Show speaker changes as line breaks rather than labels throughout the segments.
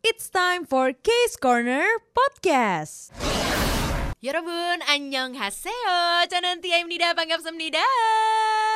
It's time for Case Corner Podcast.
Ya 여러분 안녕하세요. 저는 티아입니다. 반갑습니다.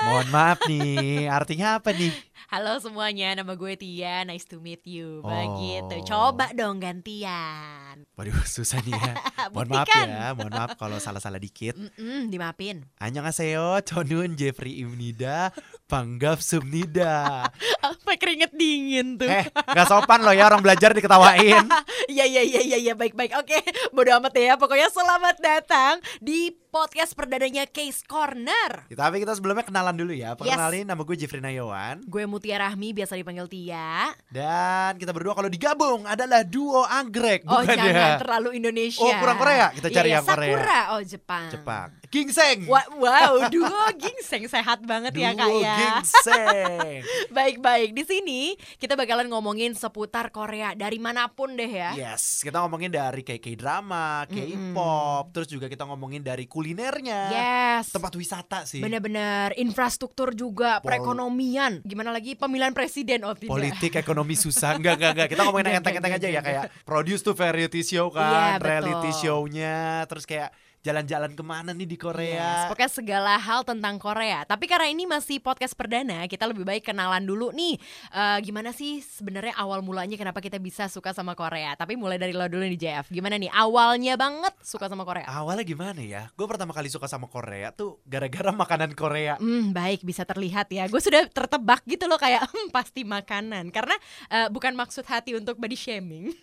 Mohon maaf nih, artinya apa nih?
Halo semuanya, nama gue Tia. Nice to meet you.
Oh.
Begitu. Coba dong gantian.
Waduh, susah nih ya. Mohon maaf
Buktikan.
ya, mohon maaf kalau salah-salah dikit.
Mm-mm, dimapin.
Annyeonghaseyo, Chonun Jeffrey Imnida, Panggap Sumnida.
Apa keringet dingin tuh?
Eh, nggak sopan loh ya orang belajar diketawain.
Ya ya ya ya ya baik baik. Oke, bodo amat ya. Pokoknya selamat datang di podcast perdananya Case Corner.
Ya, Tapi kita sebelumnya kenalan dulu ya. Perkenalin nama gue Jeffrey Nayawan.
Gue Mutia Rahmi, biasa dipanggil Tia.
Dan kita berdua kalau digabung adalah duo anggrek.
Oh
bukan
jangan
ya?
terlalu Indonesia.
Oh, kurang Korea? Kita
Iya,
cari
iya,
yang Korea.
Sakura, oh Jepang.
Jepang. Gingseng.
Wa- Wow, duo gingseng sehat banget ya kak
Duo
ya.
Gingseng.
Baik-baik, di sini kita bakalan ngomongin seputar Korea dari manapun deh ya.
Yes, kita ngomongin dari kayak K-drama,
Mm-mm.
K-pop, terus juga kita ngomongin dari kulinernya,
Yes.
tempat wisata sih,
Bener-bener infrastruktur juga,
Pol-
perekonomian, gimana lagi pemilihan presiden oh tidak.
politik, ekonomi susah, enggak enggak enggak. Kita ngomongin yang
Enggak,
enteng-enteng
enggak,
aja ya
enggak,
kayak produce to variety show
Iya,
kan,
betul.
reality show-nya, terus kayak jalan-jalan kemana nih di
Yes,
Korea.
pokoknya segala hal tentang Korea. Tapi karena ini masih podcast perdana, kita lebih baik kenalan dulu nih. Eh, gimana sih sebenarnya awal mulanya kenapa kita bisa suka sama Korea? Tapi mulai dari lo dulu nih JF. Gimana nih awalnya banget suka sama Korea?
Awalnya gimana ya? Gue pertama kali suka sama Korea tuh gara-gara makanan Korea.
Hmm, baik bisa terlihat ya. Gue sudah tertebak gitu loh kayak hmm, pasti makanan. Karena eh, bukan maksud hati untuk body shaming,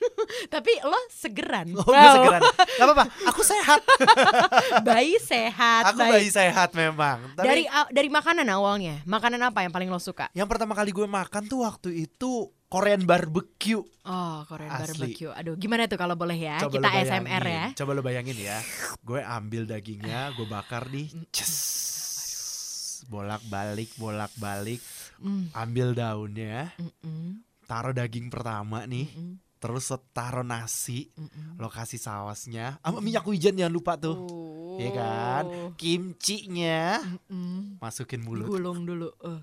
tapi lo segeran.
Oh, gue segeran. Gak apa-apa, aku sehat.
Bayi sehat.
Aku
baik.
bayi sehat memang. Tapi
Dari aw- dari makanan awalnya. Makanan apa yang paling lo suka?
yang pertama kali gue makan tuh waktu itu Korean barbecue.
Oh, Korean
Asli.
barbecue. Aduh, gimana tuh kalau boleh ya?
Coba
Kita
lu bayangin,
ASMR ya.
Coba lu bayangin ya. Gue ambil dagingnya, gue bakar nih. Ces. Bolak-balik, bolak-balik.
Mm,
Ambil daunnya,
mm, mm,
taruh daging pertama nih.
mm,
Terus taruh nasi,
mm, mm.
lo kasih sausnya. Sama minyak wijen jangan lupa tuh. Iya kan?
Oh.
Kimchinya
Mm, mm.
masukin mulut.
Digulung dulu. eh.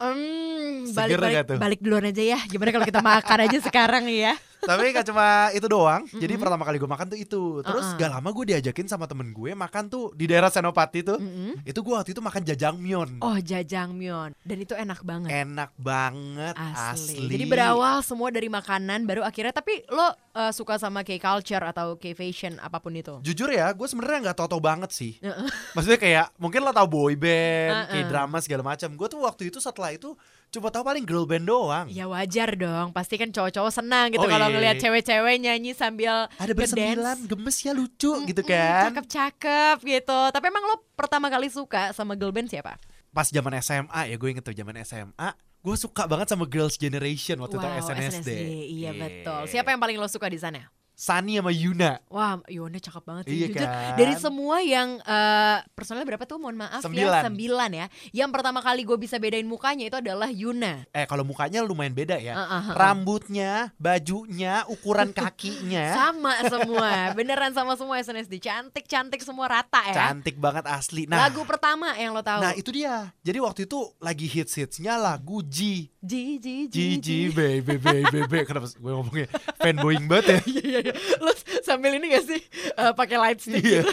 Mm, balik,
Seger
balik,
nggak tuh?
balik duluan aja ya. Gimana kalau kita makan aja sekarang ya?
Tapi gak cuma itu doang. Jadi
Mm-mm.
pertama kali gue makan tuh itu. Terus
Uh-uh.
gak lama gue diajakin sama temen gue makan tuh di daerah Senopati tuh.
Mm, mm.
Itu gue waktu itu makan jajangmyeon.
Oh, jajangmyeon. Dan itu enak banget.
enak banget
Nah. Asli.
Eh, asli.
Jadi berawal semua dari makanan, baru akhirnya. Tapi lo eh, suka sama K-culture atau K-fashion apapun itu?
jujur ya gue sebenarnya nggak toto banget sih
Heeh.
maksudnya kayak mungkin lo tau boy band
Heeh.
kayak drama segala macam gue tuh waktu itu setelah itu cuma tahu paling girl band doang
Ya wajar dong, pasti kan cowok-cowok senang gitu
Oh,
kalau
iya.
ngelihat cewek-cewek nyanyi sambil
ada
ngedance.
bersembilan gemes ya lucu gitu
Mm-mm,
kan
Cakep-cakep gitu. Tapi emang lo pertama kali suka sama girl band siapa?
pas zaman SMA ya gue inget tuh zaman SMA gue suka banget sama girls generation waktu
Wow,
itu SNSD.
Iya betul. Siapa yang paling lo suka di sana?
Sunny sama Yuna
Wah, Yona cakep banget sih.
Iya
Jujur,
kan?
dari semua yang eh, personalnya berapa tuh? Mohon maaf ya,
Sembilan.
sembilan ya. Yang pertama kali gue bisa bedain mukanya itu adalah Yuna.
eh kalau mukanya lumayan beda ya
Ah, ah, ah.
rambutnya bajunya ukuran kakinya
Sama semua, beneran sama semua SNSD. Cantik-cantik semua rata ya.
Cantik banget asli. Nah,
Lagu pertama yang lo tahu.
nah itu dia. Jadi waktu itu lagi hits-hitsnya lagu G.
Ji ji
G, G, baby, baby, baby. Kenapa gue ngomongnya fanboying banget ya?
Iya iya. Lo sambil ini gak sih eh, pakai light stick?
Iya.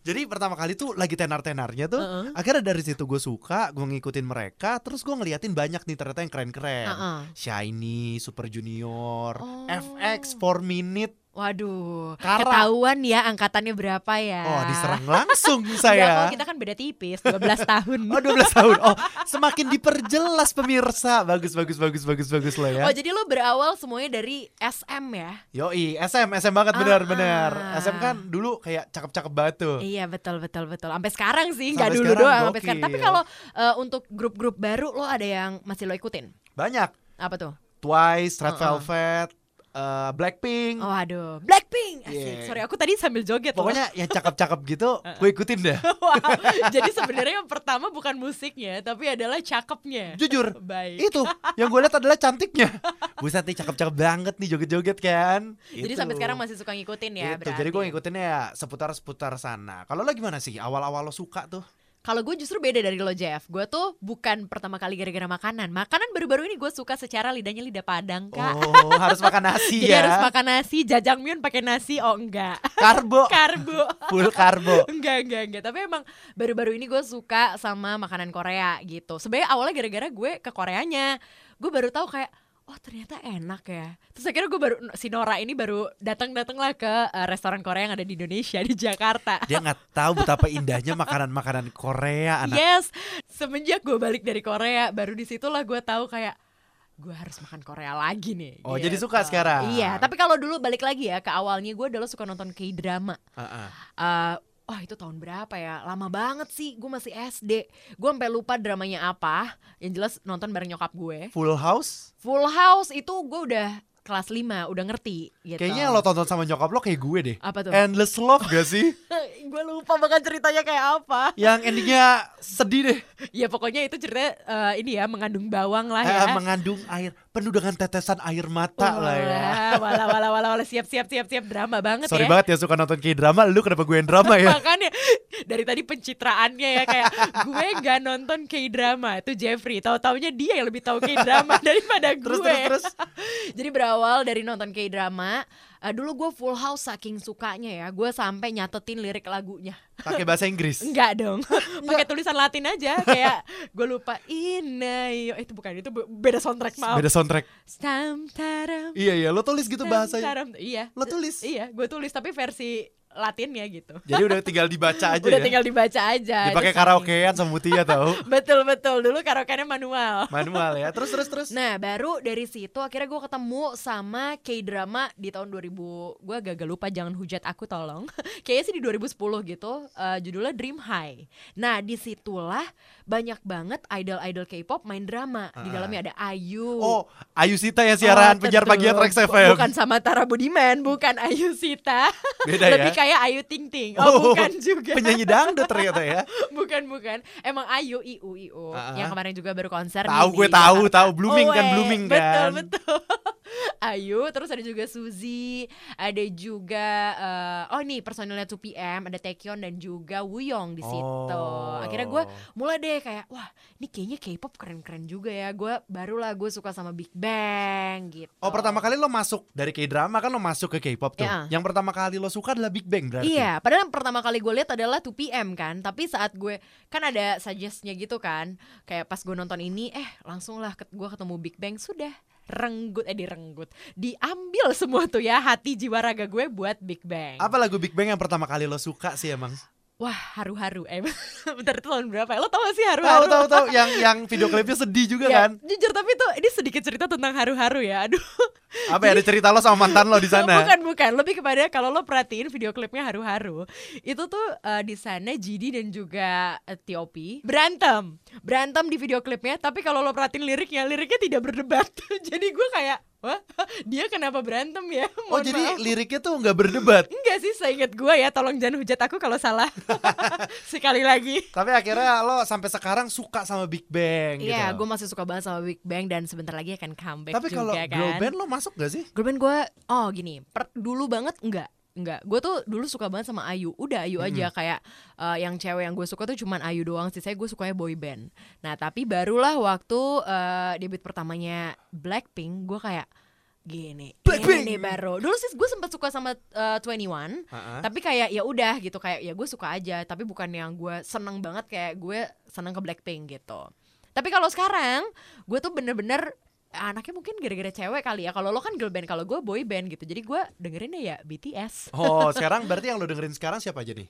Jadi pertama kali tuh lagi tenar-tenarnya tuh
Heeh.
Akhirnya dari situ gue suka, gue ngikutin mereka Terus gue ngeliatin banyak nih ternyata yang keren-keren
Heeh.
Shiny, Super Junior,
Oh.
FX, 4 Minute
Waduh,
Kara.
ketahuan ya angkatannya berapa ya?
Oh diserang langsung
Nggak, kalau
saya
kita kan beda tipis, 12 tahun.
Oh 12 tahun, oh semakin diperjelas pemirsa Bagus, bagus, bagus, bagus, bagus lah ya
Oh jadi lo berawal semuanya dari SM ya?
Yoi, SM, SM banget
Ah,
bener
ah.
bener. SM kan dulu kayak cakep-cakep banget tuh.
Iya betul betul betul. Sampai sekarang sih nggak
Sampai
dulu
sekarang,
doang. Sampai sekarang. Tapi
gokil.
kalau eh, untuk grup-grup baru lo ada yang masih lo ikutin?
Banyak.
Apa tuh?
Twice, Red
Uh-uh.
Velvet, eh, Blackpink.
Oh aduh, Blackpink. Asik.
Iya.
Sorry aku tadi sambil joget. loh.
Pokoknya yang cakep-cakep gitu
Uh-uh.
gue ikutin deh.
Wow. Jadi sebenarnya yang pertama bukan musiknya, tapi adalah cakepnya.
Jujur,
Baik.
itu yang gue lihat adalah cantiknya. Buset nih cakep-cakep banget nih joget-joget kan.
Jadi sampai sekarang masih suka ngikutin ya
Gitu. Jadi gue ngikutinnya ya seputar-seputar sana. Kalau lo gimana sih? Awal-awal lo suka tuh?
Kalau gue justru beda dari lo Jeff. Gue tuh bukan pertama kali gara-gara makanan. Makanan baru-baru ini gue suka secara lidahnya lidah Padang kak.
Oh, harus makan nasi
Jadi
ya.
harus makan nasi, jajangmyeon pakai nasi, oh enggak.
Karbo,
Karbo.
full karbo.
Enggak, enggak, enggak. Tapi emang baru-baru ini gue suka sama makanan Korea gitu. Sebenarnya awalnya gara-gara gue ke Koreanya. Gue baru tahu kayak oh ternyata enak ya. Terus akhirnya gue baru si Nora ini baru datang-datanglah ke eh, restoran Korea yang ada di Indonesia di Jakarta.
Dia nggak tahu betapa indahnya makanan-makanan Korea anak.
Yes, semenjak gue balik dari Korea, baru disitulah gue tahu kayak gue harus makan Korea lagi nih.
Oh, jadi suka sekarang?
Iya, tapi kalau dulu balik lagi ya ke awalnya gue dulu suka nonton K-drama.
Heeh.
Eh, Wah itu tahun berapa ya? Lama banget sih, gue masih SD. Gue sampai lupa dramanya apa. Yang jelas nonton bareng nyokap gue.
Full House?
Full House itu gue udah kelas 5, udah ngerti gitu.
Kayaknya yang lo tonton sama nyokap lo kayak gue deh.
Apa tuh?
Endless Love gak sih?
gue lupa bahkan ceritanya kayak apa.
yang endingnya sedih deh.
Ya pokoknya itu cerita ini ya mengandung bawang lah
Eh,
ya.
mengandung air penuh dengan tetesan air mata lah ya.
Walah, Walah, walah, walah, walah, siap, siap, siap, siap, drama banget ya.
Sorry banget ya suka nonton K-drama, lu kenapa gue yang drama ya?
Makanya dari tadi pencitraannya ya kayak gue nggak nonton K-drama itu Jeffrey, tahu-taunya dia yang lebih tahu K-drama daripada gue.
Terus, terus, terus.
Jadi berawal dari nonton K-drama, eh, dulu gue Full House saking sukanya ya, gue sampai nyatetin lirik lagunya.
Pakai bahasa Inggris.
Enggak dong. Pakai tulisan Latin aja kayak gue lupa inayo Eh, itu bukan itu bu- beda soundtrack maaf.
Beda soundtrack.
Stam taram
Iya iya, lo tulis gitu
Tam,
bahasanya.
taram. Iya.
Lo tulis.
Iya, gue tulis tapi versi Latinnya gitu.
Jadi udah tinggal dibaca aja
Udah
ya.
tinggal dibaca aja.
Dipakai
Terus
karaokean sama Mutia tahu.
ini. Betul betul dulu karaokeannya manual.
Manual ya. Terus terus terus.
Nah baru dari situ akhirnya gue ketemu sama K-drama di tahun 2000 Gue agak lupa jangan hujat aku tolong Kayaknya sih di 2010 gitu eh, Judulnya Dream High Nah disitulah banyak banget idol-idol K-pop main drama Di
Ah.
dalamnya ada Ayu
Oh, Ayu Sita ya siaran
Oh,
penyiar
tentu.
pagi Trax
Bu-
FM.
Bukan sama Tara Budiman, bukan Ayu Sita.
Beda ya.
Lebih kayak Ayu Ting Ting. Oh, bukan juga.
Penyanyi dangdut ternyata ya.
bukan bukan. Emang Ayu IU IU
Ah, ah.
yang kemarin juga baru konser. nih
Tahu gue
di
tahu
Jakarta.
tahu blooming
Oh,
kan
eh,
blooming
betul,
kan.
Betul Ayu, terus ada juga Suzy, ada juga eh, oh nih personilnya 2PM, ada Taekyon dan juga Wooyoung di situ.
Oh.
Akhirnya gue mulai deh kayak wah ini kayaknya K-pop keren-keren juga ya gue barulah gue suka sama Big Bang gitu
Oh pertama kali lo masuk dari K-drama kan lo masuk ke K-pop tuh.
Iya.
Yang pertama kali lo suka adalah Big Bang berarti.
Iya, padahal yang pertama kali gue lihat adalah 2 PM kan, tapi saat gue kan ada suggestnya gitu kan, kayak pas gue nonton ini, eh langsung lah ket- gue ketemu Big Bang sudah renggut eh direnggut, diambil semua tuh ya hati jiwa raga gue buat Big Bang.
Apa lagu Big Bang yang pertama kali lo suka sih emang?
Wah haru-haru, eh bentar itu tahun berapa? ya? Lo tau gak sih
Tahu
haru-haru?
tahu tahu yang yang video klipnya sedih juga
Ya,
kan?
Jujur tapi tuh ini sedikit cerita tentang haru-haru ya, aduh.
Apa ya, ada cerita lo sama mantan lo di sana?
Bukan bukan, lebih kepada kalau lo perhatiin video klipnya haru-haru, itu tuh eh, di sana Jidi dan juga eh, T.O.P berantem, berantem di video klipnya. Tapi kalau lo perhatiin liriknya, liriknya tidak berdebat. jadi gue kayak, wah dia kenapa berantem ya?
Oh
Mohon
jadi
maaf."
liriknya tuh nggak berdebat.
Enggak sih, saya ingat gue ya. Tolong jangan hujat aku kalau salah. Sekali lagi.
Tapi akhirnya lo sampai sekarang suka sama Big Bang gitu.
Iya, gue masih suka banget sama Big Bang dan sebentar lagi akan comeback
Tapi
juga
kalau
kan.
girl band lo masuk gak sih?
Girl band gue, oh gini, per- dulu banget enggak Enggak, gue tuh dulu suka banget sama Ayu Udah Ayu aja kayak eh, yang cewek yang gue suka tuh cuman Ayu doang sih Saya gue sukanya boy band Nah tapi barulah waktu eh, debut pertamanya Blackpink Gue kayak gini
Blackpink!
Ini nih baru Dulu sih gue sempat suka sama eh, Twenty 21 tapi kayak ya udah gitu kayak ya gue suka aja tapi bukan yang gue seneng banget kayak gue seneng ke Blackpink gitu tapi kalau sekarang gue tuh bener-bener anaknya mungkin gara-gara cewek kali ya kalau lo kan girl band kalau gue boy band gitu jadi gue dengerinnya ya BTS
Oh sekarang berarti yang lo dengerin sekarang siapa aja nih?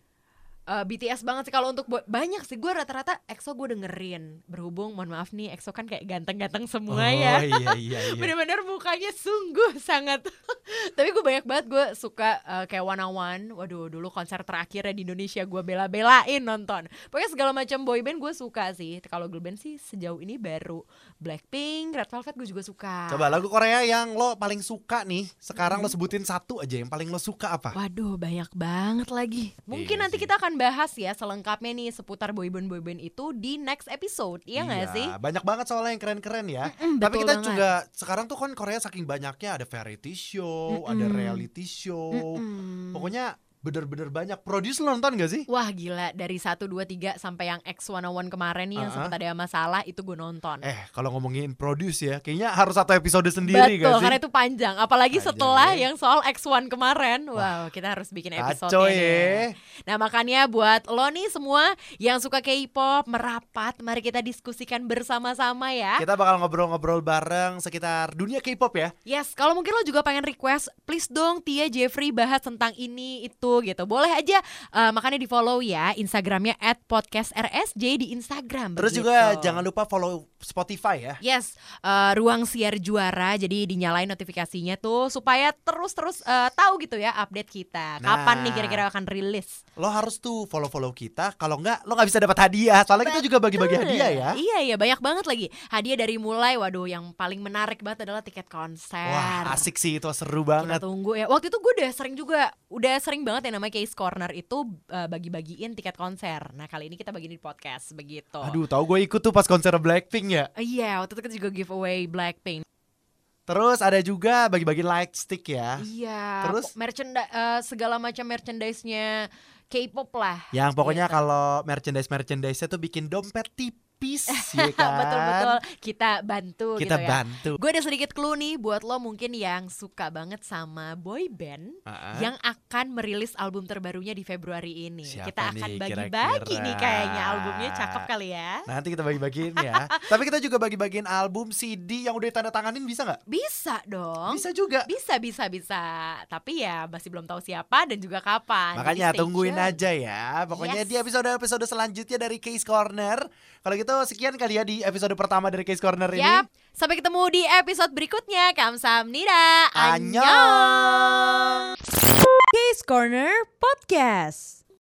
Eh, BTS banget sih kalau untuk boy- banyak sih gue rata-rata EXO gue dengerin berhubung mohon maaf nih EXO kan kayak ganteng-ganteng semua ya
Oh iya iya iya.
Bener-bener mukanya sungguh sangat Tapi gue banyak banget gue suka uh, kayak one on one Waduh dulu konser terakhirnya di Indonesia gue bela-belain nonton Pokoknya segala macam boy band gue suka sih Kalau girl band sih sejauh ini baru Blackpink, Red Velvet gue juga suka
Coba lagu Korea yang lo paling suka nih Sekarang lo sebutin satu aja yang paling lo suka apa?
Waduh banyak banget lagi Mungkin
Iya
nanti
sih.
kita akan bahas ya selengkapnya nih Seputar boy band-boy band itu di next episode Iya gak sih?
Banyak banget soalnya yang keren-keren ya
Mm-mm,
Tapi
betul
kita
banget.
juga sekarang tuh kan Korea saking banyaknya Ada variety show, ada
Mm-mm.
reality show
Mm-mm.
Pokoknya bener-bener banyak. Produce lu nonton gak sih?
Wah gila dari 1, 2, 3 sampai yang X101 kemarin nih yang
Uh-uh.
sempat ada masalah itu gue nonton
Eh, kalau ngomongin produce ya, kayaknya harus satu episode sendiri
Betul,
gak sih?
karena itu panjang. Apalagi
Panjang,
setelah
ya.
yang soal X1 kemarin. Wow, kita harus bikin episode
Kacau ya.
Nah, makanya buat lo nih semua yang suka K-pop merapat, mari kita diskusikan bersama-sama ya.
Kita bakal ngobrol-ngobrol bareng sekitar dunia K-pop ya.
Yes, kalau mungkin lo juga pengen request, please dong Tia Jeffrey bahas tentang ini itu gitu. Boleh aja, eh, makanya di follow ya Instagramnya @podcastrsj di Instagram.
Terus
begitu.
juga jangan lupa follow Spotify ya.
Yes, eh, ruang siar juara. Jadi dinyalain notifikasinya tuh supaya terus-terus eh, tahu gitu ya update kita. Kapan
Nah.
nih kira-kira akan rilis?
Lo harus tuh follow-follow kita. Kalau enggak, lo nggak bisa dapat hadiah. Soalnya kita juga
Betul.
bagi-bagi hadiah ya.
Iya iya banyak banget lagi. Hadiah dari mulai waduh yang paling menarik banget adalah tiket konser.
Wah, asik sih itu seru
Kita
banget.
tunggu ya. Waktu itu gue udah sering juga, udah sering banget yang namanya Case Corner itu eh, bagi-bagiin tiket konser. Nah kali ini kita bagiin di podcast begitu.
Aduh, tau gue ikut tuh pas konser Blackpink ya.
Iya, waktu itu kita juga giveaway Blackpink.
Terus ada juga bagi-bagi light stick ya.
Iya.
Terus?
merchandise segala macam merchandise-nya K-pop lah.
Yang pokoknya
Gitu.
kalau merchandise-merchandise-nya tuh bikin dompet tipis ya kan.
Betul-betul kita bantu
Kita
gitu ya.
bantu.
Gue ada sedikit clue nih buat lo mungkin yang suka banget sama boy band
Ah, ah.
yang akan merilis album terbarunya di Februari ini.
Siapa
kita akan
nih
bagi-bagi nih
kira-kira? Nah.
kayaknya albumnya cakep kali ya.
Nanti kita bagi-bagiin ya. Tapi kita juga bagi-bagiin album CD yang udah ditandatanganin bisa nggak?
Bisa dong.
Bisa juga.
Bisa bisa bisa. Tapi ya masih belum tahu siapa dan juga kapan. Jadi
Makanya
Nah, stay
tungguin
tune.
aja ya.
Yes.
Pokoknya di episode-episode selanjutnya dari Case Corner. Kalau gitu sekian kali ya di episode pertama dari Case Corner ini.
Yap. Sampai ketemu di episode berikutnya. Kamsahamnida.
Annyeong.
Case Corner Podcast.